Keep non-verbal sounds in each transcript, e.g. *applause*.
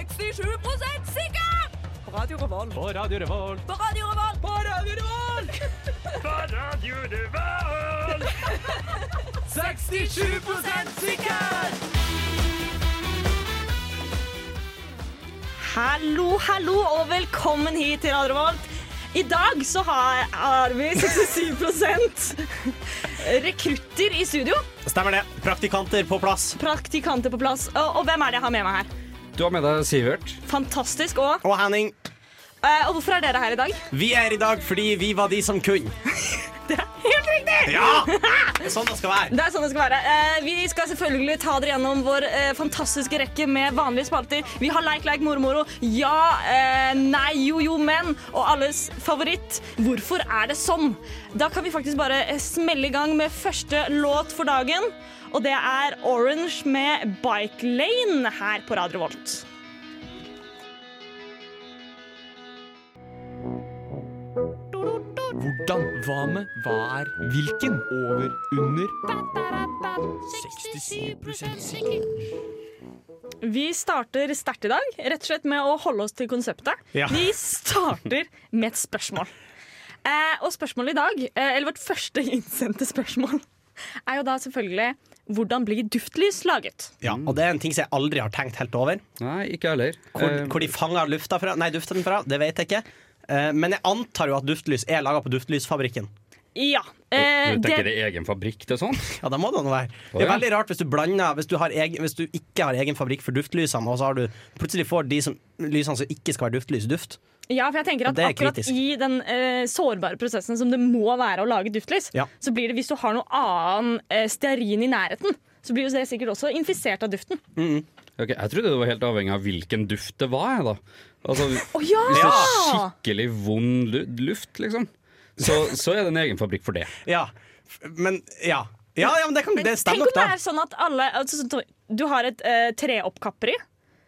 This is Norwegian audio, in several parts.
67 sikker! På Radio Revolt. På Radio Revolt. På Radio Revolt. På Radio *laughs* Revolt! På Radio Revolt! 67 sikker! Hallo, hallo, og velkommen hit til Radio Revolt. I dag så har, har vi 67 rekrutter i studio. Stemmer det. Praktikanter på plass. Praktikanter på plass. Og, og hvem er det jeg har med meg her? Du har med deg Sivert. Fantastisk. Og, Og Henning, eh, og hvorfor er dere her i dag? vi er i dag fordi vi var de som kunne. *laughs* Det er helt riktig! Ja! *laughs* Det er sånn det skal være. Det er sånn det skal være. Eh, vi skal selvfølgelig ta dere gjennom vår eh, fantastiske rekke med vanlige spalter. Vi har Leik, leik, moro, moro. Ja, eh, nei, jo, jo, men. Og alles favoritt. Hvorfor er det sånn? Da kan vi faktisk bare eh, smelle i gang med første låt for dagen. Og det er Orange med Bike Lane her på Radio Volt. Hvordan? Hva med? Hva er? Hvilken? Over? Under? Vi starter sterkt i dag, rett og slett med å holde oss til konseptet. Ja. Vi starter med et spørsmål. Eh, og spørsmålet i dag, eh, eller vårt første innsendte spørsmål, er jo da selvfølgelig hvordan blir duftlys laget? Ja, og det er en ting som jeg aldri har tenkt helt over. Nei, ikke heller. Hvor, Eh, hvor de fanger lufta fra. Nei, duften fra. Det vet jeg ikke. Eh, Men jeg antar jo at duftlys er laga på Duftlysfabrikken. Ja. du Eh, tenker det, det er egen fabrikk til sånt? Ja, da må det nå være. Det er ja. veldig rart hvis du blander Hvis du, har egen, hvis du ikke har egen fabrikk for duftlysene, og så har du plutselig får de som, lysene som ikke skal være duftlys, duft. ja, for jeg tenker at Det er akkurat kritisk. i den eh, sårbare prosessen som det må være å lage duftlys, Ja. så blir det hvis du har noe annen eh, stearin i nærheten, så blir jo det sikkert også infisert av duften. Å *laughs* Ok, Jeg trodde det var helt avhengig av hvilken duft det var. jeg, da. Altså, ja! Hvis det er skikkelig vond lu- luft, liksom, så, så er det en egen fabrikk for *laughs* det. Ja, F- men Ja. Ja, ja men det, kan, det Tenk stemmer om nok, det da. er sånn at alle altså, så- Du har et eh, treoppkapperi.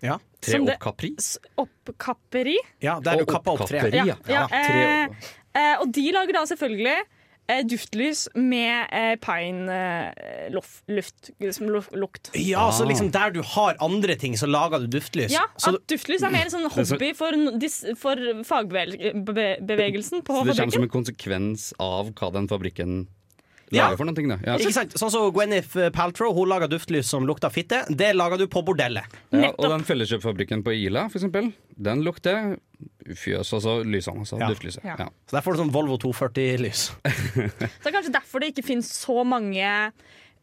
Ja, Tre Som det- opp Capri. S- Oppkapperi. ja der du kappa opp treet. Ja, ja, tre eh, eh, og de lager da selvfølgelig eh, duftlys med eh, pine eh, loff, luft, liksom, lu- lukt. Ja, Ah. så liksom der du har andre ting, så lager du duftlys. Ja, så, at duftlys er mer en sånn så- hobby for, no- dis- for fagbevegelsen på Så det kommer som fabrikken. en konsekvens av hva den fabrikken Ja. lager for noen ting, da. Ja. ikke sant? Sånn som Gwyneth Paltrow, hun lager duftlys som lukter fitte. Det lager du på bordellet. Ja, og Nettopp. den felleskjøpfabrikken på Ila, for eksempel, den lukter fjøs, altså lysene, altså Ja. duftlyset. Ja. Ja. Så der får du sånn Volvo 240-lys. Så det er kanskje derfor det ikke finnes så mange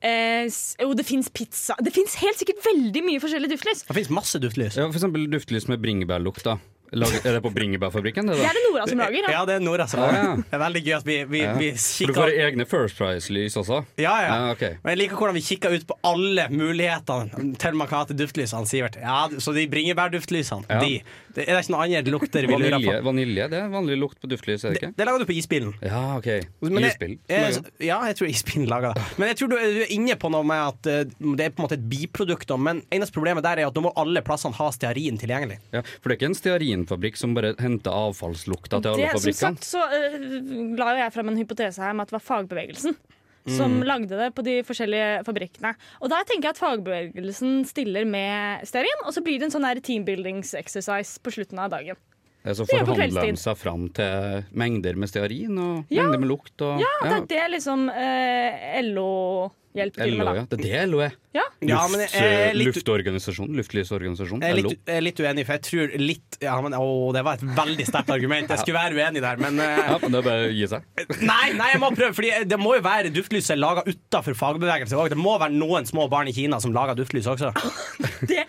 eh, s- Jo, det fins pizza. Det fins helt sikkert veldig mye forskjellig duftlys. Det finnes masse duftlys. Ja, for eksempel duftlys med bringebærlukt, da. Lager, er det på bringebærfabrikken? Det, Det da? er det Nora som lager. Ja, det er Nora som Ah, Ja, ja. lager. Det er veldig gøy at vi, vi, vi For du får kikker egne First Price-lys også? ja, ja. Ja, ok. Men jeg liker hvordan vi kikker ut på alle mulighetene til man kan ha til duftlysene, Sivert. Ja, så de bringebærduftlysene, Ja. de. Det er ikke noen andre lukter vi lurer Vanilje, på. vanilje, det er vanlig lukt på duftlys, er det Det, ikke? det lager du på isbilen. Ja, OK. Men jeg- Isbill. jeg- ja, jeg tror isbilen lager det. Men jeg tror du, du er inne på noe med at eh, det er på en måte et biprodukt. da, Men eneste problemet der er at nå må alle plassene ha stearin tilgjengelig. Ja, for det er ikke en stearinfabrikk som bare henter avfallslukta til alle Det, som sagt fabrikkene? så eh, la jo jeg frem en hypotese her med at det var fagbevegelsen som lagde det på de forskjellige fabrikkene. Og da tenker jeg at fagbevegelsen stiller med stearin, og så blir det en sånn her teambuildings-exercise på slutten av dagen. Ja, så Det er på forhandler kveldstid. de seg fram til mengder med stearin og Ja. mengder med lukt og Ja, det er det liksom eh, LO hjelper til LO, med, ja. da. E. Det er det LO er. Ja. Ja, men jeg er litt- Luftorganisasjon. Luftlysorganisasjon. E. Jeg er LO. litt, jeg er litt uenig, for jeg tror litt ja, men, Å, det var et veldig sterkt argument. Jeg skulle være uenig der, men eh, Ja, men det er bare å gi seg. Nei, nei, jeg må prøve, Fordi det må jo være duftlys laga utafor fagbevegelse òg. Det må være noen små barn i Kina som lager duftlys også. Ah, Det er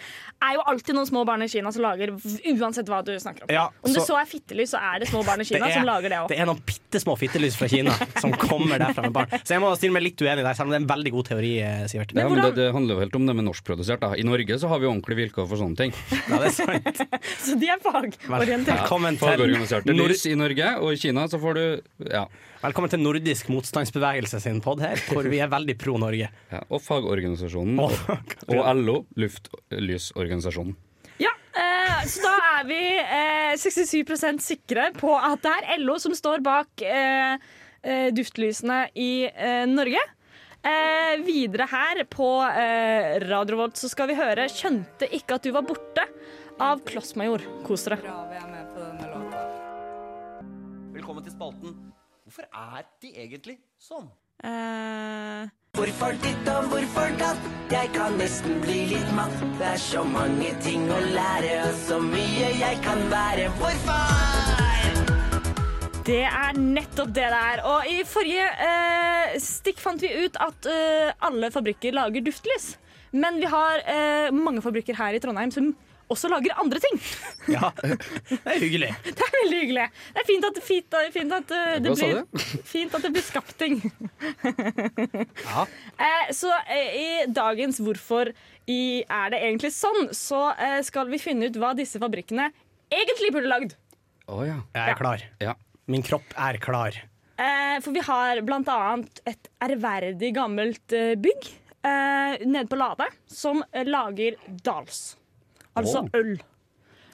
jo alltid noen små barn i Kina som lager v- uansett hva du snakker om. Ja, om det så- så er fittelys, så er det små barn i Det Kina som lager det òg. det er noen bitte små fittelys fra Kina som kommer derfra med barn. Så jeg må stille meg litt uenig der, selv om det er en veldig god teori, eh, Sivert. Ja, men det, hvordan- det handler jo helt om det med norskprodusert. da. I Norge så har vi ordentlige vilkår for sånne ting. Ja, det er sant. *laughs* Så de er fagorienterte. Velkommen Fagorganiserte til, nord lys i Norge, og i Kina så får du Ja. Velkommen til nordisk motstandsbevegelse sin pod her, hvor vi er veldig pro Norge. ja. Og fagorganisasjonen. Åh, og LO, luftlysorganisasjonen. Ja, eh, så da er vi eh, 67 sikre på at det er LO som står bak eh, eh, duftlysene i eh, Norge. Eh, videre her på eh, Radio Volt så skal vi høre 'Skjønte ikke at du var borte' av Klossmajor. Kos dere. bra vi er med på denne låta. Velkommen til spalten Hvorfor er de egentlig sånn? Eh, Hvorfor ditt og hvorfor datt? Jeg kan nesten bli litt matt. Det er så mange ting å lære, og så mye jeg kan være. Hvorfor? Det er nettopp det det er. Og i forrige eh, stikk fant vi ut at eh, alle fabrikker lager duftlys. Men vi har eh, mange fabrikker her i Trondheim som også lager andre ting. Ja, det er hyggelig. Det er veldig hyggelig. Det er fint at, fint, fint at, eh, det, Hva sa blir, *laughs* fint at det blir skapt ting. *laughs* Eh, så eh, i dagens Hvorfor i er det egentlig sånn, så eh, skal vi finne ut hva disse fabrikkene egentlig burde lagd. Å ja. Jeg er klar. ja. Min kropp er klar. Eh, for vi har blant annet et ærverdig gammelt eh, bygg eh, nede på Lade som eh, lager Dals. Altså Wow. øl.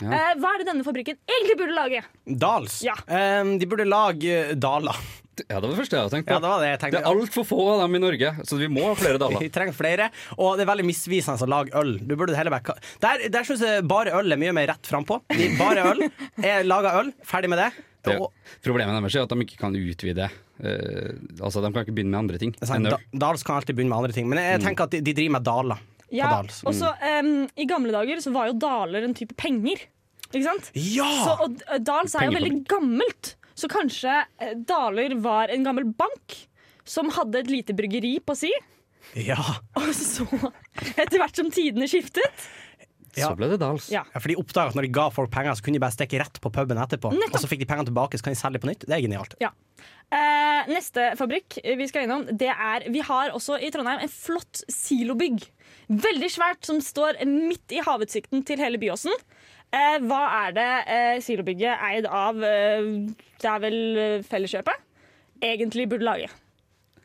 Eh, hva er det denne fabrikken egentlig burde lage? Dals. Ja. Em, de burde lage eh, daler. Ja, det var det første jeg hadde tenkt på. Ja, det var det jeg Det er tenkte. altfor få av dem i Norge, så vi må ha flere *laughs* daler. Vi trenger flere, og det er veldig misvisende å lage øl. Du burde heller bare ka- Der, der syns jeg bare øl er mye mer rett frampå. Bare øl. Jeg lager øl, ferdig med det. Det, Og, problemet deres er at de ikke kan utvide eh, Altså, De kan ikke begynne med andre ting. det er sant, enn øl. Mm. Da- Dals kan alltid begynne med andre ting, men jeg, jeg tenker at de, de driver med daler Ja, på Dals. Mm. også, em, I gamle dager så var jo daler en type penger. Ikke sant? Ja! Så, og eh, Dals er jo veldig Pengefabrikk. gammelt, så kanskje eh, Daler var en gammel bank som hadde et lite bryggeri på si. Ja. Og så, etter hvert som tidene skiftet Ja. Så ble det dals. Ja. ja, for de oppdaga at når de ga folk penger, så kunne de bare stikke rett på puben etterpå. Nettopp. Og så fikk de pengene tilbake, så kan de selge på nytt. Det er genialt. Ja. Eh, neste fabrikk vi skal innom, det er Vi har også i Trondheim en flott silobygg. Veldig svært, som står midt i havutsikten til hele Byåsen. Eh, hva er det eh, silobygget eid av eh, Det er vel eh, Felleskjøpet? Egentlig burde lage.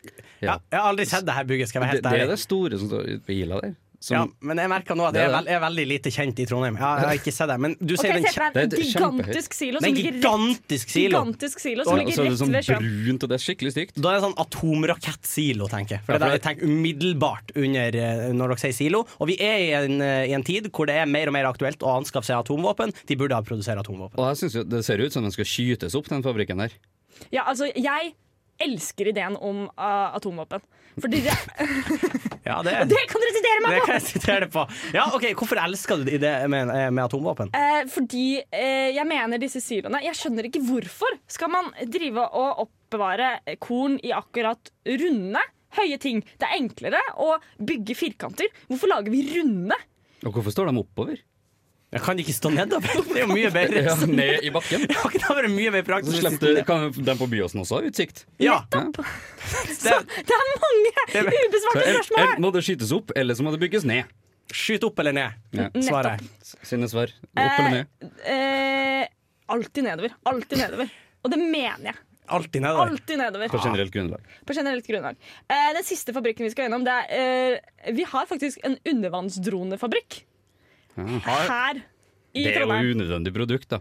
Ja. Ja. Jeg har aldri sett det her bygget, skal jeg være Det, helt det ærlig. er det store som står ute på Ila der. Som, ja, men jeg merker nå at Det er jeg er, det. veld, jeg er veldig lite kjent i Trondheim. Jeg, jeg har ikke sett det, men du Ok, ser Se den kje- for deg en det er et gigantisk silo det er en som ligger rett, gigantisk silo. gigantisk silo Ja, som og så ligger er det rett sånn ved sjøen. brunt, og det er skikkelig stygt. Da er det sånn atomrakettsilo, tenker jeg. For Ja, det er for det jeg tenker umiddelbart under eh, når dere sier silo. Og vi er i en, eh, i en tid hvor det er mer og mer aktuelt å anskaffe seg atomvåpen. De burde ha produsert atomvåpen. Og jeg synes jo Det ser ut som den skal skytes opp, den fabrikken der. Ja, altså, jeg elsker ideen om ah, atomvåpen. Fordi det, *laughs* Ja, det, det kan dere sitere meg det på! kan jeg sitere det på. Ja, ok, Hvorfor elsker du det med, eh, med atomvåpen? Eh, fordi eh, jeg mener disse siloene Jeg skjønner ikke hvorfor skal man drive og oppbevare korn i akkurat runde, høye ting. Det er enklere å bygge firkanter. Hvorfor lager vi runde? Og hvorfor står de oppover? Jeg kan ikke stå nedover. *laughs* Det er jo mye bedre. *laughs* Ja, ned i bakken. Det har ikke vært mye mer Så praktisk. slipper du- kan de på Byåsen også ha utsikt. Ja, *laughs* Så det er mange Så ubesvarte en- spørsmål! enten må det skytes opp, eller så må det bygges ned. Skyt opp eller ned, Ja. svarer jeg. Sine svar. Opp eller ned. Eh, alltid nedover. Alltid nedover. Og det mener jeg. Alltid nedover. Alltid nedover. På generelt grunnlag. På generelt grunnlag. Eh, den siste fabrikken vi skal gjennom, det er eh, Vi har faktisk en undervannsdronefabrikk her i Det er jo Trondheim. unødvendig produkt, da.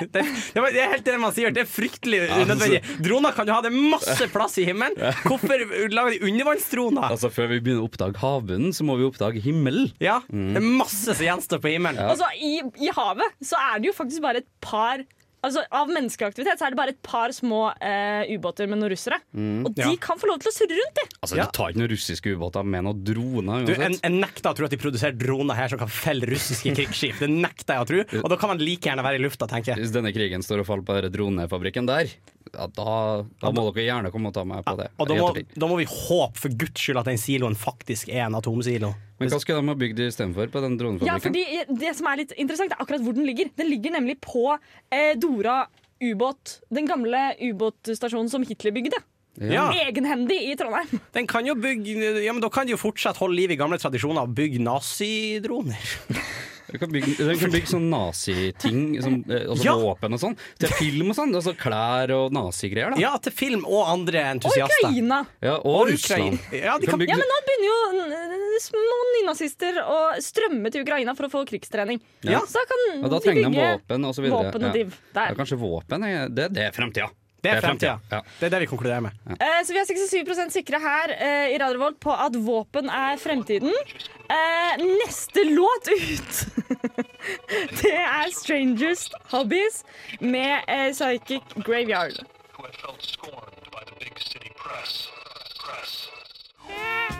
*laughs* Det, det, var, det er helt det man sier. Det er fryktelig unødvendig. Droner kan jo ha det masse plass i himmelen. Hvorfor lager de undervannsdroner? Altså Før vi begynner å oppdage havbunnen, så må vi oppdage himmelen. Ja, mm. Det er masse som gjenstår på himmelen. altså, i, I havet så er det jo faktisk bare et par Altså, Av menneskeaktivitet så er det bare et par små eh, ubåter med noen russere. Mm. og de Ja. kan få lov til å surre rundt, de. Altså, Ja. Du tar ikke noen russiske ubåter med noen droner. Du, jeg, uansett. jeg nekter å tro at de produserer droner her som kan felle *laughs* russiske krigsskip. Det nekter jeg å tro. Og da kan man like gjerne være i lufta, tenker jeg. Hvis denne krigen står og faller på denne dronefabrikken der, ja, da, da må dere gjerne komme og ta meg på det. Og da i må, ettertid. da må vi håpe for guds skyld at den siloen faktisk er en atomsilo. Men hva skulle de ha bygd istedenfor på den Ja, dronefabrikken? fordi Det som er litt interessant, er akkurat hvor den ligger. Den ligger nemlig på eh, Dora ubåt. Den gamle ubåtstasjonen som Hitler bygde. Ja, Egenhendig i Trondheim. den kan jo bygge, ja, men Da kan de jo fortsatt holde liv i gamle tradisjoner og bygge nazidroner. De kan bygge, de kan bygge sånn naziting, som, eh, altså Ja. våpen og sånn, til film og sånn. Altså klær og nazigreier, da. Ja, til film og andre Og entusiaster. Ukraina. Ja, Ukraina. og Russland. Ja, de Du kan- Ja, men nå begynner jo n- n- små nynazister å strømme til Ukraina for å få krigstrening. Ja. Så da kan Ja, da de trenger de bygge våpen og så videre. våpen og div. Ja. Der. Ja, kanskje våpen er det, det er fremtida. Det er Det er fremtiden, fremtida. ja. Det er det vi konkluderer med. Eh, Så vi er 67 sikre her eh, i Radio Revolt på at våpen er fremtiden. Eh, Neste låt ut *laughs* Det er 'Strangers Hobbies' med eh, Psychic Graveyard. who had felt scorned by the big city press. Press.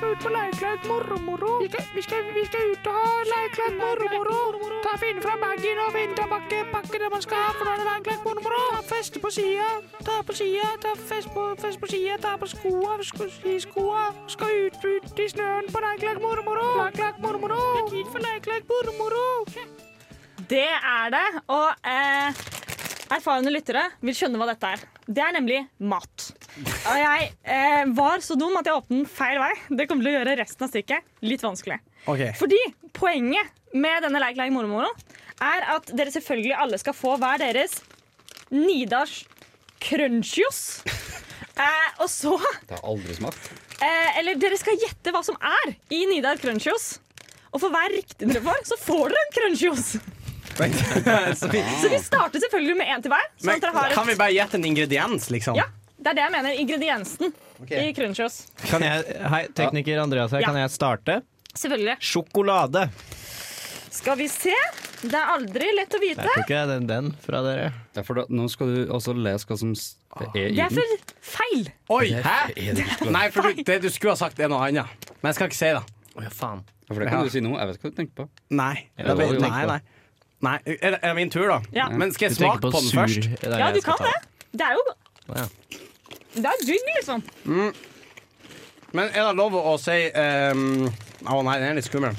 Det er det. Og eh, erfarne lyttere vil skjønne hva dette er. Det er nemlig mat. Og jeg eh, var så dum at jeg åpnet den feil vei. Det kommer til å gjøre resten av stykket litt vanskelig. Ok. Fordi poenget med denne Leik Leik Mormoro er at dere selvfølgelig alle skal få hver deres Nidars crunchios. Eh, og så Det har aldri smakt. eh, Eller dere skal gjette hva som er i Nidar crunchios. Og for hver riktig dere får, så får dere en crunchios. *laughs* Så vi- Så vi starter selvfølgelig med én til hver. Sånn Men at dere har kan vi et, bare gjette en ingrediens, liksom? ja, det er det jeg mener. Ingrediensen i crunchios. Kan jeg, hei, tekniker Andreas her, Ja. kan jeg starte? Selvfølgelig. Sjokolade. Skal vi se. Det er aldri lett å Jeg vite. tror ikke det er den, den fra dere. Ja, for da, nå skal du også lese hva som s- Ah. er i Det er den. for feil. Oi! Det er- Hæ? er det ikke- Nei, for du, det du skulle ha sagt, er noe annet. Men jeg skal ikke si det. For det Ja. kan du si nå. Jeg vet ikke hva du tenker på. Nei. Ja, det nei, var jo- nei, nei. nei. Er det- er det min tur, da? Ja. Men skal Du jeg tenker smake på, på den sur. først? Det er Ja, jeg du skal kan ta. det. Det er jo Ja. Det er jigg, liksom. Men er det lov å si ehm, Å nei, den er litt skummel.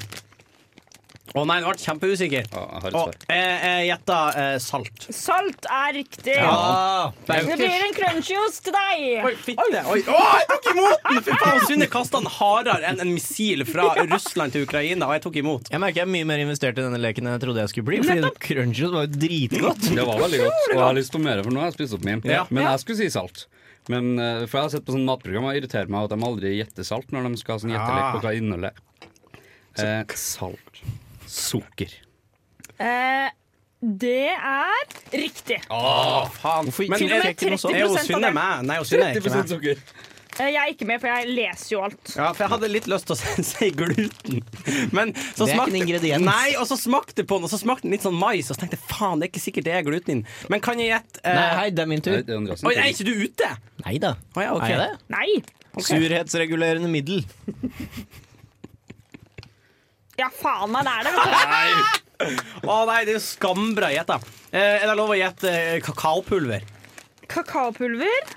Å nei, nå ble jeg kjempeusikker. Ja, jeg har et Og svar. jeg jeg gjetter eh, salt. Salt er riktig. Det Oi, blir en crunchios til deg. fitte! Oi, å, jeg tok imot den! Fy faen, Sunne kasta den hardere enn en missil fra Russland til Ukraina, og jeg tok imot. Jeg merker jeg er mye mer investert i denne leken enn jeg trodde jeg skulle bli. Fordi crunchies var jo dritgodt. Det var veldig godt, og jeg har lyst på mer, for nå har jeg spist opp min. Ja. Men jeg skulle si salt. Men, eh, for jeg har sett på sånne matprogram og irriterer meg at de aldri gjetter salt når de skal ha sånn gjettelek på hva innholdet er. Eh, *laughs* salt. Sukker. Eh, det er riktig. Faen. Hvorfor Men ikke? Til og er- med 30 er jo av Synne det. meg? Nei, hun Synne er ikke meg. sukker. Eh, Jeg er ikke med, for jeg leser jo alt. Ja, for jeg hadde litt lyst til å si- *laughs* si gluten. Men så smakte- Det er ikke en ingrediens. Nei, og så smakte det på den, og så smakte den litt sånn mais, og så tenkte jeg faen, det er ikke sikkert det er gluten i den. Men kan jeg gjette eh, Nei, hei, det er min tur. Nei, det er Andreas sin Oi, tur. er ikke du ute? Nei da. Å ja, ok. Er jeg det? Nei. Surhetsregulerende middel. Ja, faen meg, det er det. vet Å nei, det er jo skambra gjetta. Eh, er det lov å gjette eh, kakaopulver? du. Kakaopulver.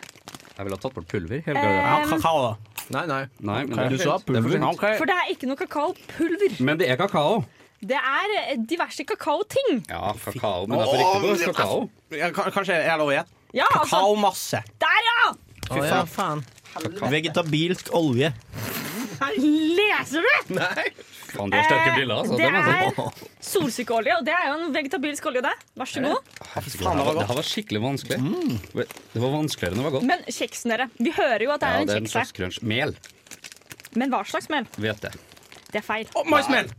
Jeg ville ha tatt bort pulver. Hele Eh. greia. Ja, kakao, da. Nei, nei. Nei, men Du sa det er for pulver. sent. For det er ikke noe kakaopulver. Men det er kakao. Det er eh, diverse kakaoting. Ja, kakao. Men det er for riktig på kakao. Ja, ka- kanskje er det lov å gjette? Ja, altså. Kakaomasse. Der, ja! Å ja, faen. Vegetabilsk *laughs* olje. Leser du? Faen, de har sterke Eh, briller, altså. det Det, må jeg si. er solsikkeolje, og det er jo en vegetabilsk olje, det. Vær så god. Herregud, det, her var, det her var skikkelig vanskelig. Det var vanskeligere enn det var godt. Men kjeksen, dere. Vi hører jo at det Ja, er en det er en kjeks her. slags crunch. Mel, Men hva slags mel? hvete. Det er feil. Å, maismel!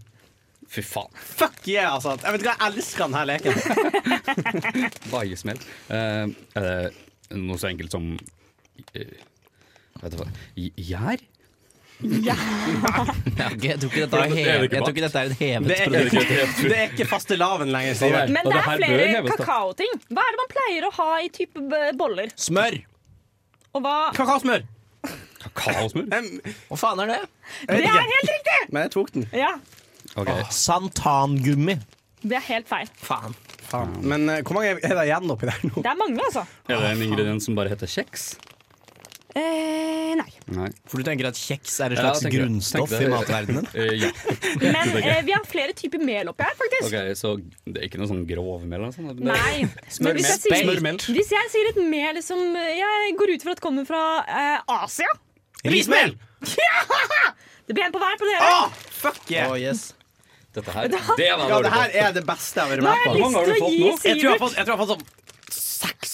Fy faen. Fuck yeah, altså. Jeg vet ikke, jeg elsker denne *laughs* leken. Baiesmel. Eh, Er det noe så enkelt som eh, Vet du hva Gj- Gjær? Jeg tror ikke dette er, Det er hev... jo jeg ikke tror ikke dette er et hevet Det er Sånn produkt. ikke, det er ikke fastelavn lenger, Sivert. Men Og det det her er bør flere heves, da. kakaoting. Hva er det man pleier å ha i type b- boller? Smør! Og hva Kakaosmør. Kakaosmør? Em, Hva faen er det? Det er helt riktig! Men jeg tok den. Ja, Ok, Santangummi. det er helt feil. Faen. Faen. Men eh, hvor mange er det igjen oppi der nå? Det er mange, altså. Er det en ingrediens som bare heter kjeks? Eh, nei. Nei. For du tenker at kjeks er et Ja, slags tenker jeg. grunnstoff i Tenker jeg. matverdenen? Eh, ja. *laughs* Men eh, vi har flere typer mel oppi her, faktisk. Ok, Så det er ikke noe sånn grovmel? eller noe sånt? Nei. Men hvis jeg, Smørmel. sier, hvis jeg sier et mel som eh, jeg går ut fra at kommer fra eh, Asia Rismel! Det blir en på hver på dere. Ah, fuck yeah! *laughs* Å, yes. Dette her, det var Ja, dårlig. det her er det beste jeg har vært Nå med har på. jeg Hvor mange lyst har du til å gi fått nå? Jeg tror jeg har fått, jeg tror jeg har fått Sivert sånn syv.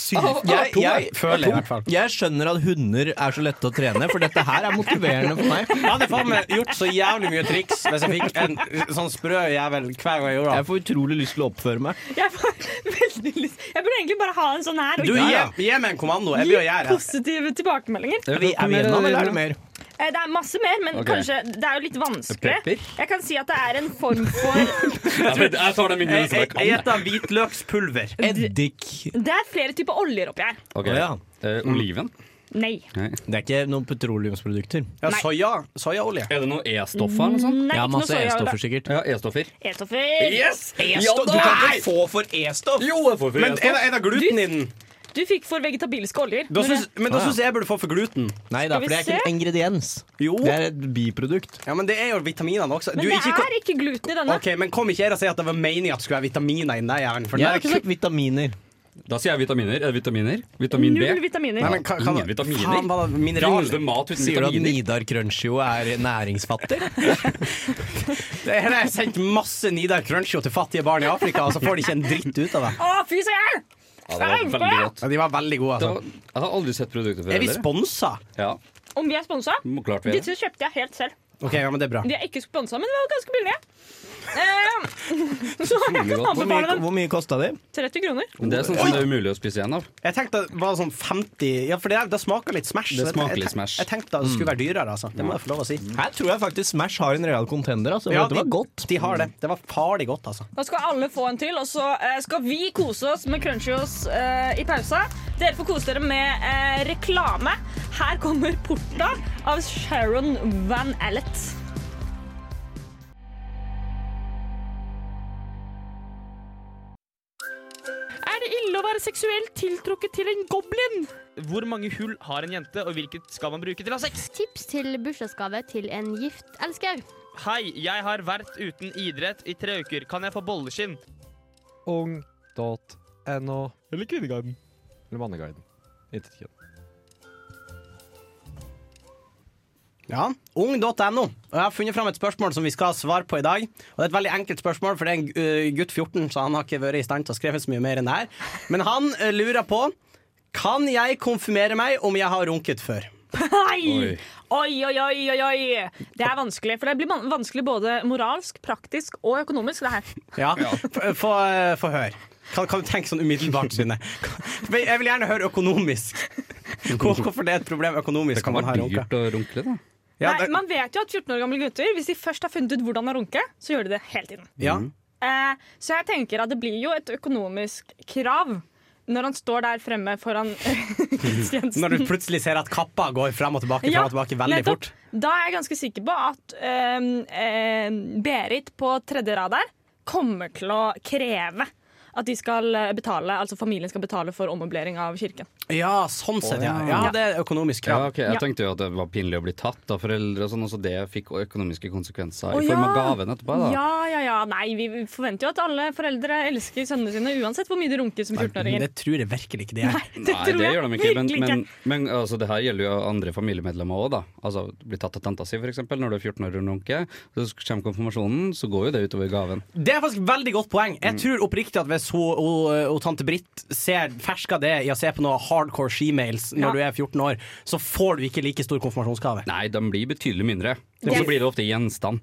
Jeg, jeg, føler jeg i hvert fall. jeg skjønner at hunder er så lette å trene, for dette her er motiverende for meg. Jeg hadde faen meg gjort så jævlig mye triks hvis jeg fikk en sånn sprø jævel hver gang jeg gjorde det. Jeg får utrolig lyst til å oppføre meg. Jeg får *laughs* veldig lyst Jeg burde egentlig bare ha en sånn her og Du, gi gi, gi meg en kommando. Jeg blir å gjøre det. positive tilbakemeldinger. Er Vi, er vi gjennom, eller er det mer? Eh, Det er masse mer, men Ok. kanskje det er jo litt vanskelig. Pepper? Jeg kan si at det er en form for Jeg tar den mindre som Jeg jeg jeg kan. gjetter hvitløkspulver. Eddik. Det er flere typer oljer oppi her. Ok. Å, ja. Eh, oliven? Nei. Det er ikke noen petroleumsprodukter. Ja, Nei. soya. Soyaolje. Er det noe E-stoff her? eller noe sånt? Nei, Jeg har ikke noe masse soya- E-stoffer, sikkert. Ja, E-stoffer. E-stoffer. Yes! E-stoff? Du kan ikke få for E-stoff! Jo, jeg får for Men er E-stoff. det, er det gluten i den? Du fikk for vegetabilske oljer. Da Når syns- det- men da syns jeg jeg burde få for gluten. Nei da, Skal vi for det er ikke se? en ingrediens. Jo. Det er et biprodukt. Ja, men det er jo vitaminene også. men Du, det ikke kom- er ikke gluten i denne. Ok, men kom ikke her og si at det var meningen at det skulle være vitaminer inni deg, jævelen. For Jeg det har er ikke sagt vitaminer. Da sier jeg vitaminer. Er det vitaminer? Vitamin Null B? vitaminer. Nei, men hva- hva- Ingen vitaminer. Faen, hva er det? Finnes Mineraler. det mat uten Sier du at vitaminer? Nidar Crunchio er næringsfattig? *laughs* Det her har jeg sendt masse Nidar Crunchio til fattige barn i Afrika, og så får de ikke en dritt ut av det. Å, fy søren! Ja, det var veldig godt. Ja, de var veldig gode, Det altså. var- Jeg har aldri sett produktet før. Er vi heller. sponsa? Ja, Om vi er sponsa? må klart vi er det. Disse kjøpte jeg helt selv. OK, ja, men det er bra. De er ikke sponsa, men de var ganske *laughs* billige. Eh, *laughs* så jeg kan Hvor anbefale mye, dem. hvor mye kosta de? 30 kroner. Men Det er sånn som det er umulig å spise igjen av. Jeg tenkte det var sånn 50 Ja, for det, det smaker litt Smash. så Det jeg- smaker jeg- litt Smash. Jeg tenkte det skulle være dyrere, altså. Det må jeg få lov å si. Her tror jeg faktisk Smash har en real contender. Altså. Ja, det var de- godt. De har det. Det var farlig godt, altså. Da skal alle få en til, og så eh, skal vi kose oss med Crunchios eh, i pausa. Dere får kose dere med eh, reklame. Her kommer Porta av Sharon Van Allet. Er det ille å være seksuelt tiltrukket til en goblin? *laughs* Hvor mange hull har en jente, og hvilket skal man bruke til å ha sex? Tips til bursdagsgave til en gift elsker. Hei, jeg har vært uten idrett i tre uker. Kan jeg få bolleskinn? ung.no. Eller Kvinneguiden. Eller Manneguiden. Intet kjønn. Ja, ung.no. Og jeg har funnet fram et spørsmål som vi skal svare på i dag. Og det er et veldig enkelt spørsmål, for det er en ø, gutt 14, så han har ikke vært i stand til å skrive så mye mer enn det her. Men han ø, lurer på Kan jeg konfirmere meg om jeg har runket før? Nei! Oi. Oi, oi, oi, oi, oi. Det er vanskelig, for det blir man- vanskelig både moralsk, praktisk og økonomisk, det her. Ja, f- Få ø, få høre. Kan, kan du tenke sånn umiddelbart, Synne? For Jeg vil gjerne høre økonomisk. Hvor- Hvorfor det er et problem økonomisk? Det kan om man være har runket? dyrt å runkle, da. Ja, Nei, det, man vet jo at 14 år gamle gutter Hvis de først har funnet ut hvordan å runke, så gjør de det hele tiden. ja. Eh, så jeg tenker at det blir jo et økonomisk krav når han står der fremme foran *laughs* gudstjenesten. Når du plutselig ser at kappa går frem og tilbake, frem og tilbake veldig nettopp. fort. Da er jeg ganske sikker på at ehm, ehm, Berit på tredje rad der kommer til å kreve at de skal eh, betale, altså familien skal betale for ommøblering av kirken. Ja, sånn sett, ja. ja det er økonomisk krav. Ja, ok, Jeg Ja. tenkte jo at det var pinlig å bli tatt av foreldre, og sånn, og så det fikk økonomiske konsekvenser Å, i form av ja. gaven etterpå. da. Ja, ja, ja. Nei, vi forventer jo at alle foreldre elsker sønnene sine uansett hvor mye de runker som 14-åringer. Det tror jeg virkelig ikke det er. Det Nei, tror det jeg gjør de ikke. Men, virkelig men, men altså, det her gjelder jo andre familiemedlemmer òg, da. Altså, blir tatt av tanta si, f.eks. Når du er 14 år og runker. Så kommer konfirmasjonen, så går jo det utover gaven. Det er faktisk et veldig godt poeng. Jeg tror oppriktig at hvis hun og, og tante Britt ser ferska det i å se på noe hardcore shemails når Ja. du er 14 år, så får du ikke like stor konfirmasjonsgave. Nei, de blir betydelig mindre. Og Det- så blir det ofte gjenstand.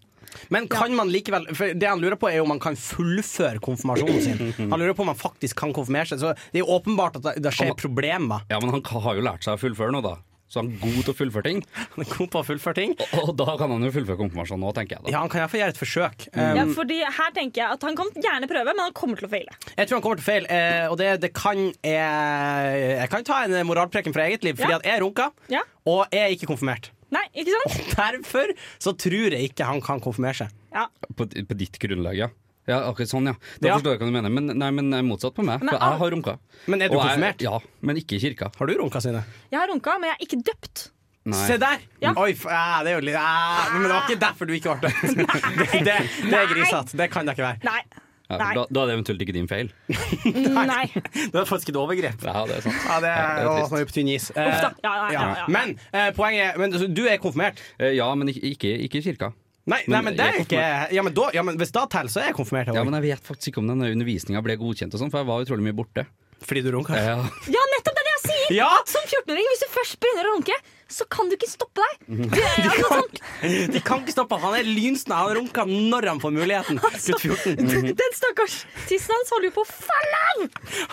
Men kan man likevel For det han lurer på, er jo om man kan fullføre konfirmasjonen sin. *laughs* Han lurer på om man faktisk kan konfirmere seg. Så det er jo åpenbart at det, det skjer problemer. *laughs* Ja, men han ka- har jo lært seg å fullføre nå, da. Så han er god til å fullføre ting. Han er god på å fullføre ting. Og, og da kan han jo fullføre konfirmasjonen òg, tenker jeg. da. Ja, han kan iallfall gjøre et forsøk. Ja, Um, fordi her tenker jeg at Han kan gjerne prøve, men han kommer til å feile. Jeg tror han kommer til feil, eh, og det, det kan jeg, jeg kan ta en moralpreken fra eget liv. Fordi Ja. at jeg runka, Ja. og jeg er ikke konfirmert. *laughs* Nei, ikke sant? Derfor så tror jeg ikke han kan konfirmere seg. Ja. På, på ditt grunnlag, ja. Ja, akkurat sånn, ja. Da Ja. forstår jeg hva du mener. Men, nei, men det er motsatt på meg. Men For al- jeg har runka. Men er du Og jeg- konfirmert? Ja, men ikke i kirka. Har du runka sine? Jeg har runka, men jeg er ikke døpt. Nei. Se der! Ja. Oi, f ah, det er jo litt ah, Men det var ikke derfor du *laughs* ikke ble døpt. *laughs* Det, det, det er grisete. Det kan det ikke være. Nei. Ja, Nei. da, da er det eventuelt ikke din *laughs* feil. Nei. Det var faktisk et overgrep. Ja, det er sant. Ja, det Ja, det er, er å, nå trist. er vi på tynn is. Eh, Uff da. Ja, ja, ja, ja. Men eh, poenget er men, så Du er konfirmert. Eh, Ja, men ikke, ikke, ikke i kirka. Nei, men, nei, Men men det jeg er er ikke ja, men da, ja, men Hvis da teller, så er jeg konfirmert. jeg Ja, også. men Jeg vet faktisk ikke om denne undervisninga ble godkjent, og sånn, for jeg var utrolig mye borte. Fordi du runka? Ja. Ja, nettopp det er det jeg sier! Ja! Som 14-åring, hvis du først begynner å runke, så kan du ikke stoppe deg. Mhm. Det *laughs* er altså sånn, De kan ikke stoppe han. Han er lynsnær. Han runker når han får muligheten. Gutt Mhm. 14. Den stakkars tissen hans holder jo på å falle av!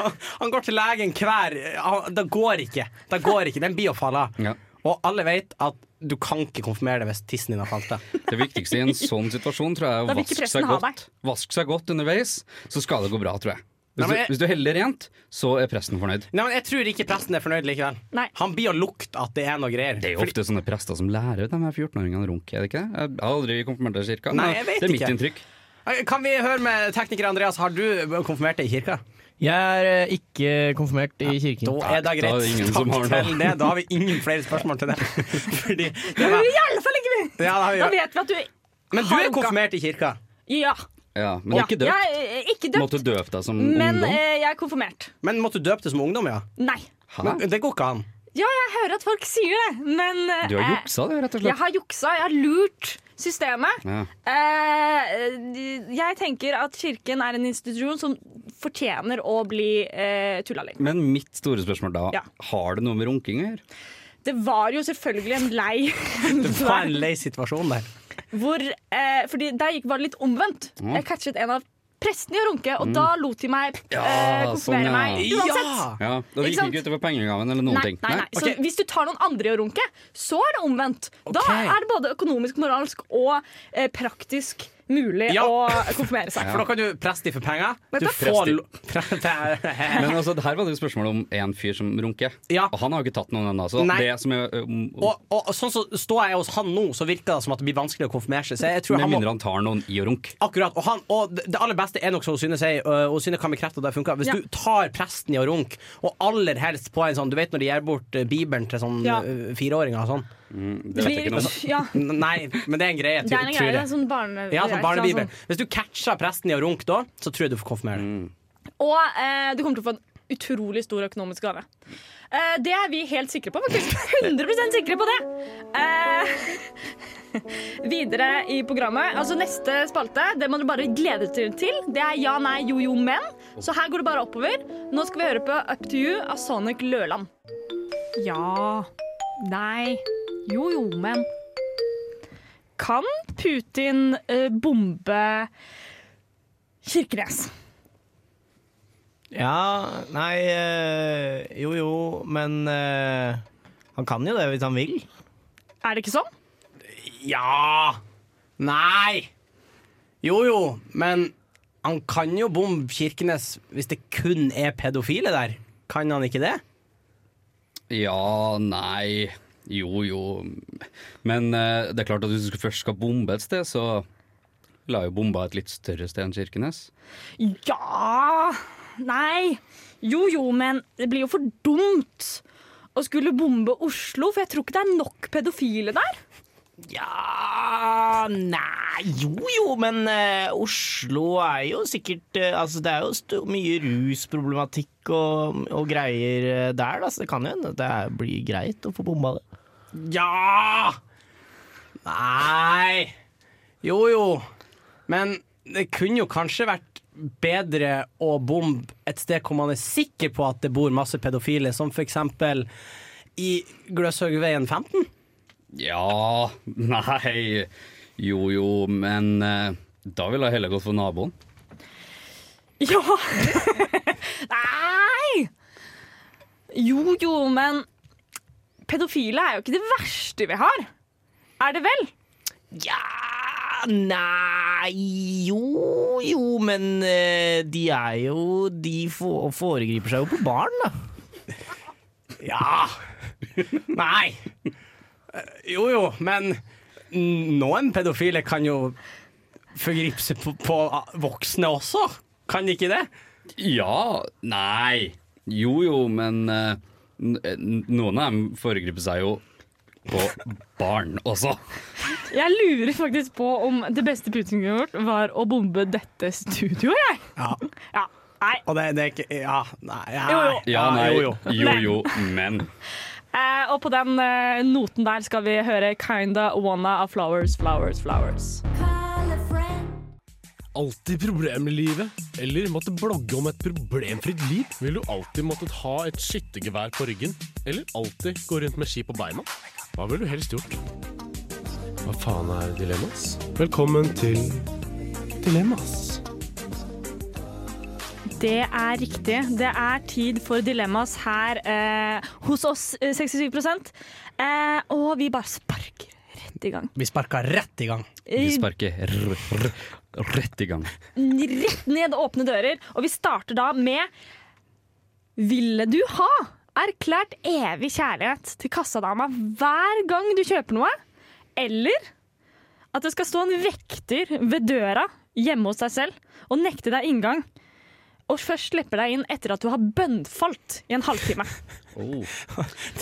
Han, han går til legen hver han, Det går ikke. Det går ikke. Den blir å falle av. Og alle vet at du kan ikke konfirmere det hvis tissen din har falt av. *laughs* Det viktigste i en sånn situasjon tror jeg er Da å vil ikke vaske presten seg, ha godt, vaske seg godt underveis, så skal det gå bra, tror jeg. Hvis, Nei, men jeg- du, hvis du heller rent, så er presten fornøyd. Nei, men Jeg tror ikke presten er fornøyd likevel. Han blir å lukte at det er noe greier. Det er jo ofte sånne prester som lærer de her 14-åringene å runke, er det ikke det? Jeg har aldri konfirmert deg i kirka, men Nei, jeg vet det er mitt ikke. inntrykk. Kan vi høre med tekniker Andreas, har du konfirmert deg i kirka? Jeg er eh, ikke konfirmert i kirken. Da er det greit. Da er det ingen Takk som har noe. til det. Da har vi ingen flere spørsmål *laughs* til det. Fordi det Men var, I alle fall ikke vi! ja, da har vi, Da vet vi at du men du er konfirmert i kirka? Ja. Ja, men ja. ikke døpt. Jeg er ikke døpt, Måtte døpe deg som men ungdom. eh, jeg er konfirmert. Men måtte du døpe det som ungdom, ja? Nei. Hæ? Men det går ikke an. Ja, jeg hører at folk sier det, men eh, Du har juksa, du, rett og Jeg slett. har juksa, jeg har lurt systemet. Ja. Eh, jeg tenker at kirken er en institusjon som fortjener å bli eh, tulla litt. Men mitt store spørsmål da, Ja. har det noe med runking å gjøre? Det var jo selvfølgelig en *laughs* lei Det var en lei situasjon der. hvor, eh, Fordi der gikk var det litt omvendt. Mm. Jeg catchet en av prestene i å runke, og Mm. da lot de meg Ja, eh, sånn, konfirmere ja. meg uansett. Ja, og det Ikke gikk sant? ikke utover pengegaven eller noen Nei, ting. nei, nei. Så hvis du tar noen andre i å runke, så er det omvendt. Da Ok. er det både økonomisk, moralsk og eh, praktisk mulig Ja. å *laughs* konfirmere seg. For da kan du presse de for penger. Du Nettopp. får lo- *laughs* pre- Men altså, her var det jo spørsmål om en fyr som runker. Og han har jo ikke tatt noen ennå. Så Nei. det som er ø, om- om- og, og sånn som står jeg hos han nå, så virker det som at det blir vanskelig å konfirmere seg. Så jeg tror Med han må, mindre han tar noen i å runke. akkurat, og, han, og det det aller beste er nok som Synne sier, øh, og Synne kan bekrefte at det funker. Hvis Ja. du tar presten i å runke, og aller helst på en sånn Du vet når de gir bort øh, Bibelen til sånn Ja. øh, fireåringer og sånn? Det blir, ja. Nei, men det er en greie, Det er tror- en greie, tror det jeg. er sånn barne... Ja, sånn ikke sant, barnebibel. sånn. Hvis du catcher presten i å runke da, så tror jeg du får konfirmere deg. Og eh, du kommer til å få en utrolig stor økonomisk gave. Eh, det er vi helt sikre på. Faktisk *laughs* 100 sikre på det! Eh, *laughs* videre i programmet. Altså Neste spalte det må du bare glede dere til. Det er ja, nei, jo, jo, men. Så her går det bare oppover. Nå skal vi høre på Up to you av Sonic Løland. Ja. Nei. Jo, jo, men. Kan Putin eh, bombe Kirkenes? Ja, nei eh, Jo jo, men eh, han kan jo det hvis han vil. Er det ikke sånn? Ja! Nei! Jo jo, men han kan jo bombe Kirkenes hvis det kun er pedofile der. Kan han ikke det? Ja, nei Jo, jo. Men eh, det er klart at hvis du skal- først skal bombe et sted, så la jo bomba et litt større sted enn Kirkenes. Ja Nei. Jo jo, men det blir jo for dumt å skulle bombe Oslo, for jeg tror ikke det er nok pedofile der. Ja Nei, jo jo, men eh, Oslo er jo sikkert eh, Altså, det er jo st mye rusproblematikk og, og greier eh, der, da, så det kan jo hende at det er- blir greit å få bomba det. Ja! Nei Jo jo, men det kunne jo kanskje vært bedre å bombe et sted hvor man er sikker på at det bor masse pedofile, som for eksempel i Gløshaugveien 15. Ja, *laughs* nei Jo, jo, men eh, da ville jeg heller gått for naboen. Ja *laughs* Nei! Jo jo, men pedofile er jo ikke det verste vi har. Er det vel? Ah, Nei, jo jo, men eh, de er jo De fo- foregriper seg jo på barn, da. Ja! Nei! Eh, Jo jo, men noen pedofile kan jo forgripe seg på, på ah, voksne også. Kan de ikke det? Ja, nei Jo, jo, men eh, n- n- noen av dem foregriper seg jo på barn også. Jeg lurer faktisk på om det beste Putin kunne gjort, var å bombe dette studioet, jeg. Ja. Nei. Og det, det er ikke Ja, nei. Ja, Jo, jo. Ja, nei, jo, jo. jo, jo, men Eh, og på den eh, noten der skal vi høre Kinda Wanna av Flowers, Flowers, Flowers. alltid problemer i livet? Eller måtte blogge om et problemfritt liv? Vil du alltid måttet ha et skyttergevær på ryggen? Eller alltid gå rundt med ski på beina? Hva ville du helst gjort? Hva faen er dilemmas? Velkommen til Dilemmas. Det er riktig. Det er tid for dilemmas her eh, hos oss, eh, 67 eh, Og vi bare sparker rett i gang. Vi sparka rett i gang. Vi sparker r r rett i gang. Rett ned åpne dører. Og vi starter da med Ville du ha erklært evig kjærlighet til kassadama hver gang du kjøper noe? Eller at det skal stå en vekter ved døra hjemme hos deg selv og nekte deg inngang? Og først slipper deg inn etter at du har bønnfalt i en halvtime.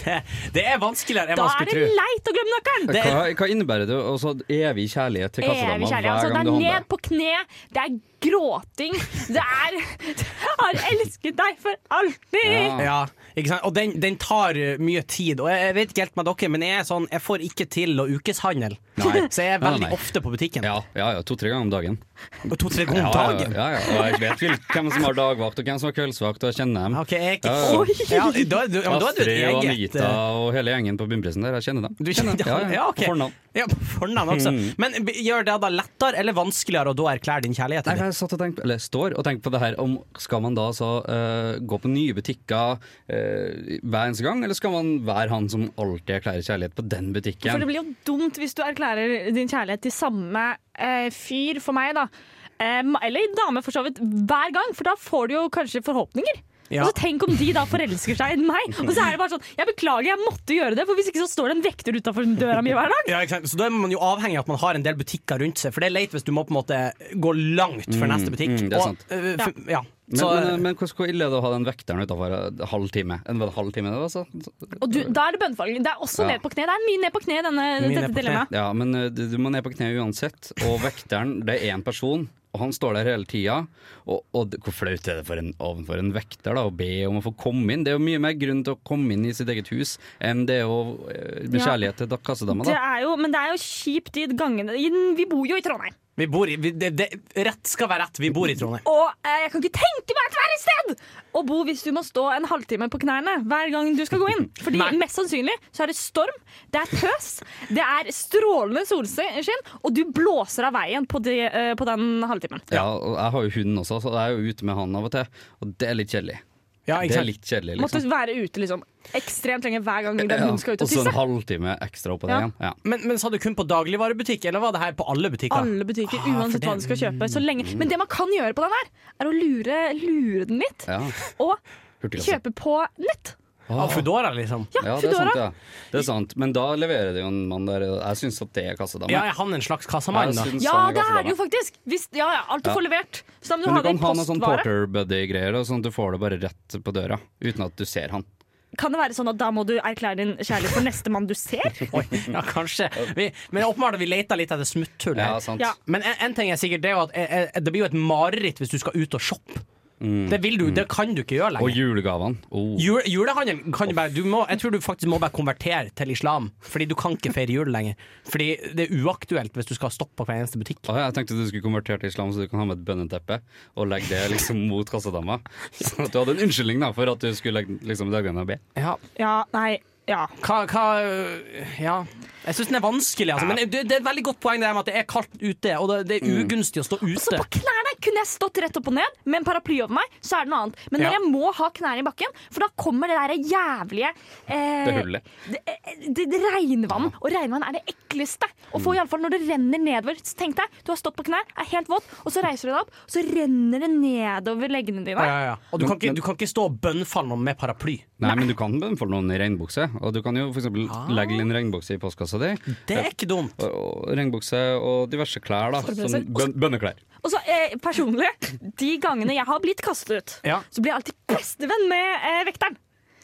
Det, det er vanskeligere enn Da man er skulle det tro. leit å glemme nøkkelen! Hva, hva innebærer det? Altså, evig kjærlighet til kassadama Evig kjærlighet. hver Altså, det gang er du handler? ned på kne, det er gråting, det er *laughs* Jeg har elsket deg for alltid! Ja, ikke sant? Og den, den tar uh, mye tid. Og jeg, jeg vet ikke helt med dere, men jeg er sånn Jeg får ikke til å ukeshandle. Nei. Så jeg er Nei, veldig nei. ofte på butikken. Ja, ja, ja to-tre ganger om dagen. To-tre ganger om dagen? Ja, ja, ja, ja. Og jeg vet vel hvem som har dagvakt, og hvem som har kveldsvakt, og jeg kjenner dem. Okay, jeg er Ja, ikke ja, ja. da, er du- ja, men da er du et Astrid og eget Anita eh, og hele gjengen på Bunnprisen der, jeg kjenner dem. du kjenner, ja, ja, ok. På fornavn. Ja, på fornavn også. Mm. Men b- gjør det da lettere eller vanskeligere å da erklære din kjærlighet? Nei, for jeg satt og tenkte, eller står og tenker på det her om skal man da så eh, gå på nye butikker eh, hver eneste gang, eller skal man være han som alltid erklærer kjærlighet på den butikken? For det blir jo dumt hvis du erklærer din kjærlighet til samme eh, fyr for meg, da. Eh, ma- eller dame, for så vidt, hver gang, for da får du jo kanskje forhåpninger. Ja. Og så Tenk om de da forelsker seg i meg, og så er det bare sånn Jeg beklager, jeg måtte gjøre det, for hvis ikke så står det en vekter utafor døra mi hver dag. Ja, ikke sant? Så da er man jo avhengig av at man har en del butikker rundt seg, for det er leit hvis du må på en måte gå langt for Mm, neste butikk. mm, det er sant. Og, øh, f- ja. Men, Så, men, eh, men hvordan hvor ille er det å ha den vekteren utafor en halv time? En var det halv time, det var, så? Og du, da er det bønnfalling. Det er også Ja. ned på kne. Det er mye ned på kne i denne, dette dilemmaet. Ja, men eh, du, du må ned på kne uansett. Og vekteren, det er én person, og han står der hele tida. Og, og det- hvor flaut er det for en, overfor en vekter da, å be om å få komme inn? Det er jo mye mer grunn til å komme inn i sitt eget hus enn det å eh, med Ja. kjærlighet til da- kassadama, Det da. er jo, men det er jo kjipt de gangene i- Vi bor jo i Trondheim. vi bor i, vi, det, det, rett skal være rett, vi bor i Trondheim. Og eh, jeg kan ikke tenke meg et verre sted å bo hvis du må stå en halvtime på knærne hver gang du skal gå *laughs* inn. Fordi mest sannsynlig så er det storm, det er tøs, det er strålende solskinn, og du blåser av veien på, det, eh, på den halvtimen. Ja, og jeg har jo hunden også, så jeg er jo ute med han av og til. Og det er litt kjedelig. det sant. er litt kjedelig, Måtte liksom. være ute liksom ekstremt lenge hver gang den Ja, hunden skal ut og så en tisse. halvtime ekstra oppå det Ja. igjen. Ja. Men, men sa du kun på dagligvarebutikk, eller var det her på alle butikker? Alle butikker, Ah, for uansett hva du det- skal kjøpe. Mm. Så lenge. Men det man kan gjøre på den her, er å lure, lure den litt. Og Hurtigkasse. kjøpe på nett. Ah, Foodora, liksom? Ja, det er Foodora. sant, ja. Det er sant. Men da leverer det jo en mann der Jeg syns at det er kassadame. Ja, er han en slags kassamann, Jeg da? syns Ja, han det er kassadame. det jo faktisk! Hvis, ja, ja, alt du Ja. får levert. Så da må du, Men ha du det kan i ha noe sånn postvare. porter buddy-greier, da, sånn at du får det bare rett på døra uten at du ser han. Kan det være sånn at da må du erklære din kjærlighet for neste mann du ser? *laughs* Ja, kanskje. Vi, men åpenbart har vi leita litt etter smutthull. her. sant. Ja. Men en, en ting er sikkert, det er jo at eh, eh, det blir jo et mareritt hvis du skal ut og shoppe. Det, vil du, det kan du ikke gjøre Og lenger. julegavene. Oh. Jule, julehandel kan du bare du må, Jeg tror du faktisk må bare konvertere til islam, Fordi du kan ikke feire jul lenger. Fordi det er uaktuelt hvis du skal stoppe på hver eneste butikk. Å, jeg tenkte du skulle konvertere til islam, så du kan ha med et bønneteppe og legge det liksom mot kassadama. *laughs* Sånn at du hadde en unnskyldning da for at du skulle legge, liksom, legge den og be. Ja, nei, ja. Hva, hva øh, Ja. Jeg syns den er vanskelig, altså. Men det, det er et veldig godt poeng det her med at det er kaldt ute, og det, det er ugunstig å stå ute. Knærne kunne jeg stått rett opp og ned med en paraply over meg, så er det noe annet. Men når Ja. jeg må ha knærne i bakken, for da kommer det der jævlige eh, Det hullet. det, eh, det, det regnvann, og regnvann er det ekleste. Og for i alle fall når det renner nedover så Tenk deg, du har stått på knær, er helt våt, og så reiser du deg opp, og så renner det nedover leggene dine. Ja, ja, ja. Og du kan, ikke, du kan ikke stå og bønnfalle noen med paraply. Nei, men du kan få noen i regnbukse. Og du kan jo f.eks. legge inn regnbukse i postkassa di. Det er ikke dumt. Og, og regnbukse og diverse klær, da. Forberedelser. Sånn bøn bønneklær. Og så eh, personlig, de gangene jeg har blitt kastet ut, Ja. så blir jeg alltid bestevenn med eh, vekteren.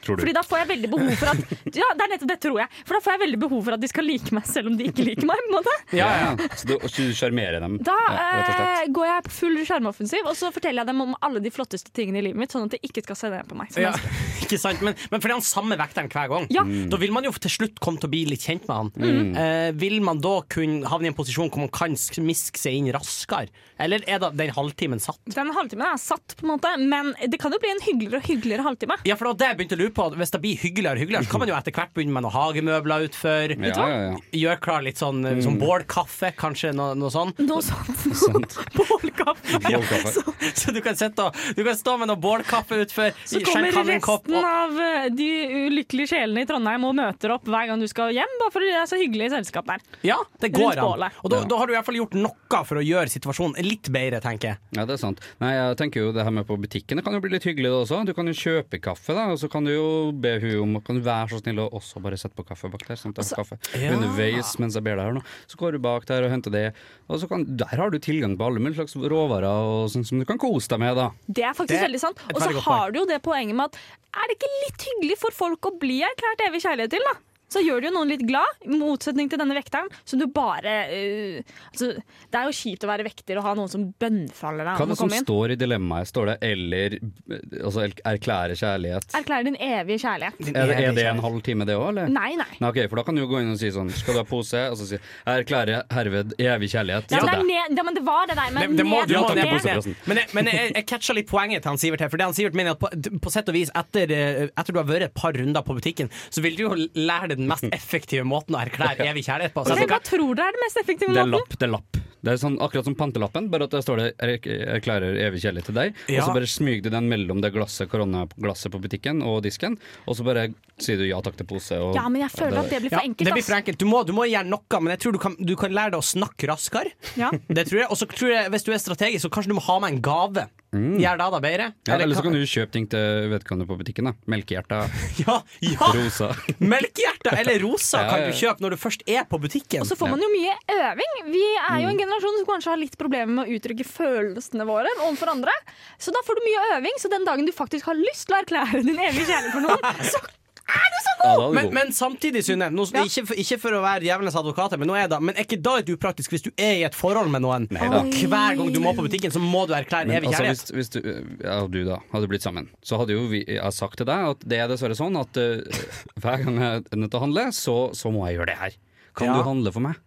Tror du? Fordi da får jeg veldig behov for at *laughs* Ja, det er nettopp det, tror jeg. For da får jeg veldig behov for at de skal like meg selv om de ikke liker meg. på en måte Ja, ja. Så du, og så du sjarmerer dem? Da ja, rett og slett. eh, går jeg på full skjermoffensiv og så forteller jeg dem om alle de flotteste tingene i livet mitt, sånn at de ikke skal se ned på meg. som Ja, menneske. ikke sant? Men, men fordi han samme vekteren hver gang, Ja. Mm. da vil man jo til slutt komme til å bli litt kjent med han. Mm. Eh, vil man da kunne havne i en posisjon hvor man kan smiske seg inn raskere? Eller er da den halvtimen satt? Den halvtimen er satt, på en måte men det kan jo bli en hyggeligere og hyggeligere halvtime. Ja, for det var det jeg begynte å lure på. at Hvis det blir hyggeligere og hyggeligere, så kan man jo etter hvert begynne med noen hagemøbler utfor. Vet du hva? ja, Gjøre klar litt sånn, eh, Mm. sånn bålkaffe, kanskje noe, sånn. noe sånt. Noe Sånn. sånt. *laughs* Ja, så, *laughs* så du kan, sitte og, du kan stå med noe bålkaffe utfor. Så skjenke kommer han en kopp, resten av eh, de ulykkelige sjelene i Trondheim og møter opp hver gang du skal hjem, bare fordi det er så hyggelig selskap der. Ja, det Rundt går an. bålet. Og da, da har du i hvert fall gjort noe for å gjøre situasjonen litt bedre, tenker jeg. Ja, det er sant. Nei, jeg tenker jo det her med på butikken, det kan jo bli litt hyggelig det også. Du kan jo kjøpe kaffe, da, og så kan du jo be hun om Kan du være så snill å også bare sette på kaffe bak der, sånn at Altså, jeg har kaffe Ja. underveis mens jeg ber deg her nå. Så går du bak der og henter det, og så kan Der har du tilgang på alle mulige slags råvarer og sånn som du kan kose deg med, da. Det er faktisk Det er veldig sant. et Og så veldig godt har du jo det poenget med at er det ikke litt hyggelig for folk å bli erklært evig kjærlighet til, da? Så gjør det jo noen litt glad, i motsetning til denne vekteren. Som du bare eh, altså, Det er jo kjipt å være vekter og ha noen som bønnfaller deg Hva er om det å som komme inn. står i dilemmaet? Står det 'eller' altså erklære kjærlighet? Erklære din evige kjærlighet. Er det, er det en halv time, det òg, eller? Nei, nei. Nei, ok, for Da kan du jo gå inn og si sånn Skal du ha pose? Og så si Jeg erklærer herved evig kjærlighet Ja, til men det, er deg. ned, ja, men det var det der med Det, det må, ned du og må takk, ned. jeg poser forresten. Men, jeg, men jeg, jeg catcha litt poenget til han Sivert her. For det han Sivert mener at på, på sett og vis, etter, eh, etter du har vært et par runder på butikken, så vil du jo lære deg den *laughs* mest effektive måten å erklære evig kjærlighet på. Så Men jeg Hva tenker, tror dere er den mest effektive Det er måten? lapp, det er lapp. Det er sånn, akkurat som pantelappen, bare at der står det «Erk- 'erklærer evig kjærlighet til deg', og Ja. så bare smyger du den mellom det glasset, koronaglasset på butikken og disken, og så bare sier du ja takk til pose. Og, Ja, men jeg føler at det blir for enkelt, det blir for ass. enkelt. Du må, du må gjøre noe, men jeg tror du kan, du kan lære deg å snakke raskere. Ja. *laughs* Det tror jeg. Og så tror jeg, hvis du er strategisk, så kanskje du må ha med en gave. Gjør det da bedre. Mm. Ja, eller så kan- kan du kjøpe ting til vedkommende på butikken. da Melkehjerta, *laughs* *laughs* *laughs* rosa Melkehjerte eller rosa *laughs* Ja, kan ja. du kjøpe når du først er på butikken. Og så får man jo mye øving. Vi er jo en Mm. generasjon som kanskje har litt problemer med å uttrykke følelsene våre overfor andre. Så da får du mye øving, så den dagen du faktisk har lyst til å erklære din evige kjærlighet *laughs* for noen, så Ja, da er du men, god. men samtidig, Synne, nå, ikke, for, ikke for å være djevelens advokat, her, men, nå er det, men er ikke da et upraktisk hvis du er i et forhold med noen, og hver gang du må på butikken, så må du erklære Men evig altså, kjærlighet? hvis, hvis du, ja, og du da, hadde blitt sammen, så hadde jo vi, jeg sagt til deg at det er dessverre sånn at eh, hver gang jeg er nødt til å handle, så, så må jeg gjøre det her. Kan Ja. du handle for meg?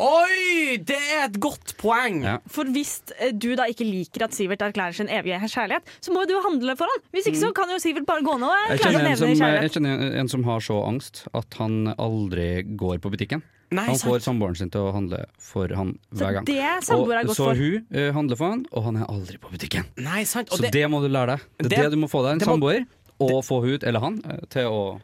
Oi, det er et godt poeng! Ja. For hvis eh, du da ikke liker at Sivert erklærer sin evige kjærlighet, så må jo du handle for han. Hvis ikke så kan jo Sivert bare gå ned og Mm. Jeg erklære kjenner, sin en som, eh, evige jeg kjærlighet. kjenner en som har så angst at han aldri går på butikken. Nei, han sant. får samboeren sin til å handle for han hver gang. det er samboer er og, godt så for. hun eh, handler for han, og han er aldri på butikken. Nei, sant. Så det, må du lære deg. Det er det, det- du må få deg, en det må- samboer, og få hun, eller han, eh, til å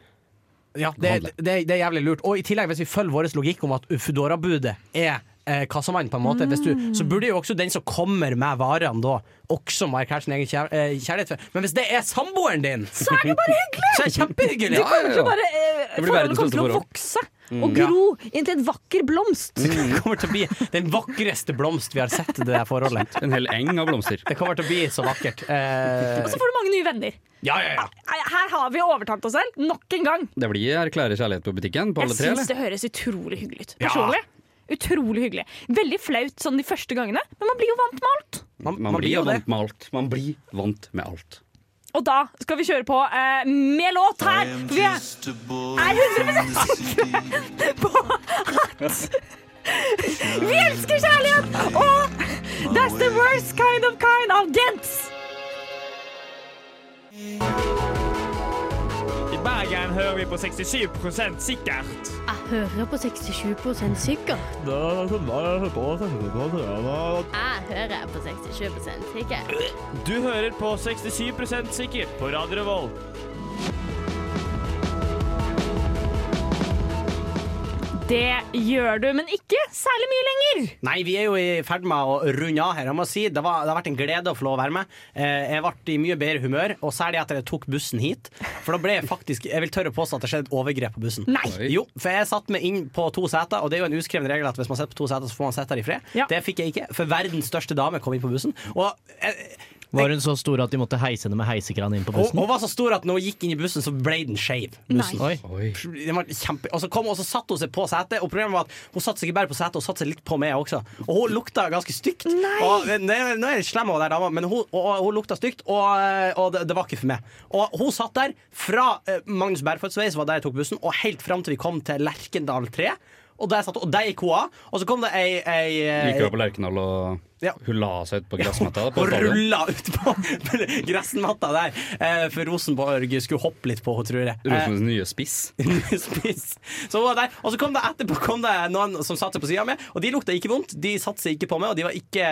Ja, det, Handle. det, det er jævlig lurt. Og i tillegg, hvis vi følger vår logikk om at Foodora-budet er eh, kassamann, på en måte, hvis du, så burde jo også den som kommer med varene da, også må erklære sin egen kjær- eh, kjærlighet. for- Men hvis det er samboeren din, Så er det bare hyggelig! så er det kjempehyggelig! Du kommer til å bare, eh, Det blir verdens sånn forholdet kommer beste til forhold. å vokse Mm. og Ja. gro inn til et vakker blomst. Mm. Det kommer til å bli den vakreste blomst vi har sett i det der forholdet. En hel eng av blomster. Det kommer til å bli så vakkert. Eh, Og så får du mange nye venner. ja, ja, ja. Nei, Her har vi overtalt oss selv nok en gang. Det blir erklære kjærlighet på butikken på alle tre, Jeg syns det eller? høres utrolig hyggelig ut. Ja. Personlig. Utrolig hyggelig. Veldig flaut sånn de første gangene, men man blir jo vant med alt. Man, man blir jo blir jo vant med alt. Man blir vant med alt. Og da skal vi kjøre på eh, med låt her. For vi er er 100 sikre på at vi elsker kjærlighet! Og that's the worst kind of kind av Gents. I Bergen hører vi på 67 sikkert. Jeg hører på 67 sikkert. Jeg hører på 67 sikkert. Du hører på 67 sikkert på Radio Revolt. Det gjør du, men ikke særlig mye lenger. Nei, vi er jo i ferd med å runde av her. Jeg må si, det, var, det har vært en glede å få lov å være med. Eh, jeg ble i mye bedre humør, og særlig etter jeg tok bussen hit. For da ble jeg faktisk Jeg vil tørre å påstå at det skjedde et overgrep på bussen. Nei. Jo, for jeg satte meg inn på to seter, og det er jo en uskreven regel at hvis man sitter på to seter, så får man sitte der i fred. Det fikk jeg ikke, for verdens største dame kom inn på bussen. Og jeg, Var hun så stor at de måtte heise henne med heisekran inn på Og, bussen? og var så stor at når hun gikk inn i bussen, så ble den skeiv. Bussen. Nei. Den var kjempe... Og så kom og så satte hun seg på setet, og problemet var at hun satte seg ikke bare på setet, hun satte seg litt på meg også. Og hun lukta ganske stygt. Og, eh, nei, nå er jeg slem over der dama, men hun, og, og hun lukta stygt, og, eh, og det, det var ikke for meg. Og hun satt der fra eh, Magnus Bærfødts vei, som var der jeg tok bussen, og helt fram til vi kom til Lerkendal 3. Og der satt hun, og der gikk hun av. Og så kom det ei, ei, eh, Gikk jo på Lerkendal og hun la seg ut på gressmatta. på og stadion. rulla ut på *laughs* gressmatta der, eh, for Rosenborg skulle hoppe litt på henne, tror jeg. Eh, Rosenborgs nye spiss. spiss. Så hun var der. Og så kom det etterpå kom det noen som satte seg på sida av meg, og de lukta ikke vondt. De satte seg ikke på meg, og de var ikke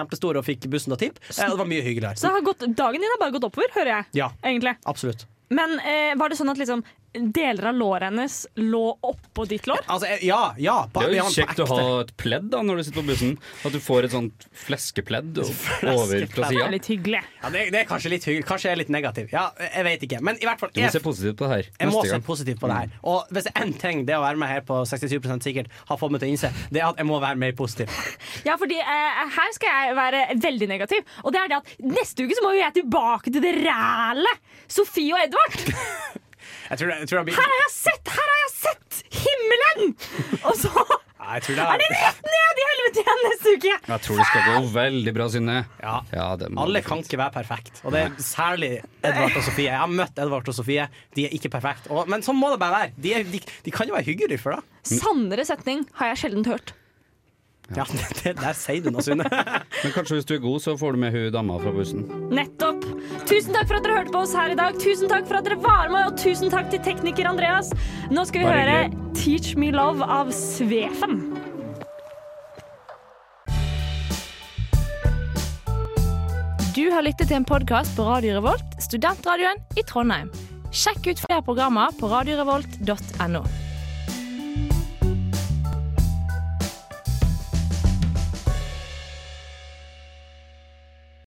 kjempestore og fikk bussen og tipp. Eh, Og det var mye Så det hyggeligere. har gått, dagen din har bare gått oppover, hører jeg. Ja, Egentlig. absolutt. Men eh, var det sånn at liksom, deler av låret hennes lå oppå ditt lår? Altså, eh, ja, ja. På, Det er ja, jo på kjekt å ekte. ha et pledd da når du sitter på bussen. At du får et sånt fleskepledd og- over Fleskepledd. Det fra er sida. litt hyggelig. Ja, det, det er kanskje litt hyggelig. Kanskje jeg er litt negativ. Ja, jeg vet ikke. Men i hvert fall Du må jeg- se positivt på det her. Jeg må se neste gang. Mm. positivt på det her. Og hvis det er én ting det å være med her på 67 sikkert har fått meg til å innse, det er at jeg må være mer positiv. Ja, fordi eh, her skal jeg være veldig negativ. Og det er det at neste uke så må jo jeg tilbake til det rælet! Sofie og Edvard! Jeg tror, det- jeg tror det Her blir har jeg sett! Her har jeg sett himmelen! Og så Nei, jeg tror det er det rett ned i helvete igjen neste uke! Jeg tror det skal gå veldig bra, Synne. Ja. det må Alle du- kan ikke være perfekt, og det er særlig Edvard og Sofie. Jeg har møtt Edvard og Sofie, de er ikke perfekt Og, Men sånn må det bare være. De, er, de, de kan jo være hyggelige for det. Sannere setning har jeg sjelden hørt. Ja, *laughs* det, Der sier du noe, Synne. Men kanskje hvis du er god, så får du med hun dama fra bussen. Nettopp. Tusen takk for at dere hørte på oss her i dag. Tusen takk for at dere var med, og tusen takk til tekniker Andreas. Nå skal vi Bare høre 'Teach Me Love' av Svefen. Du har lyttet til en podkast på Radio Revolt, studentradioen i Trondheim. Sjekk ut flere programmer på radiorevolt.no.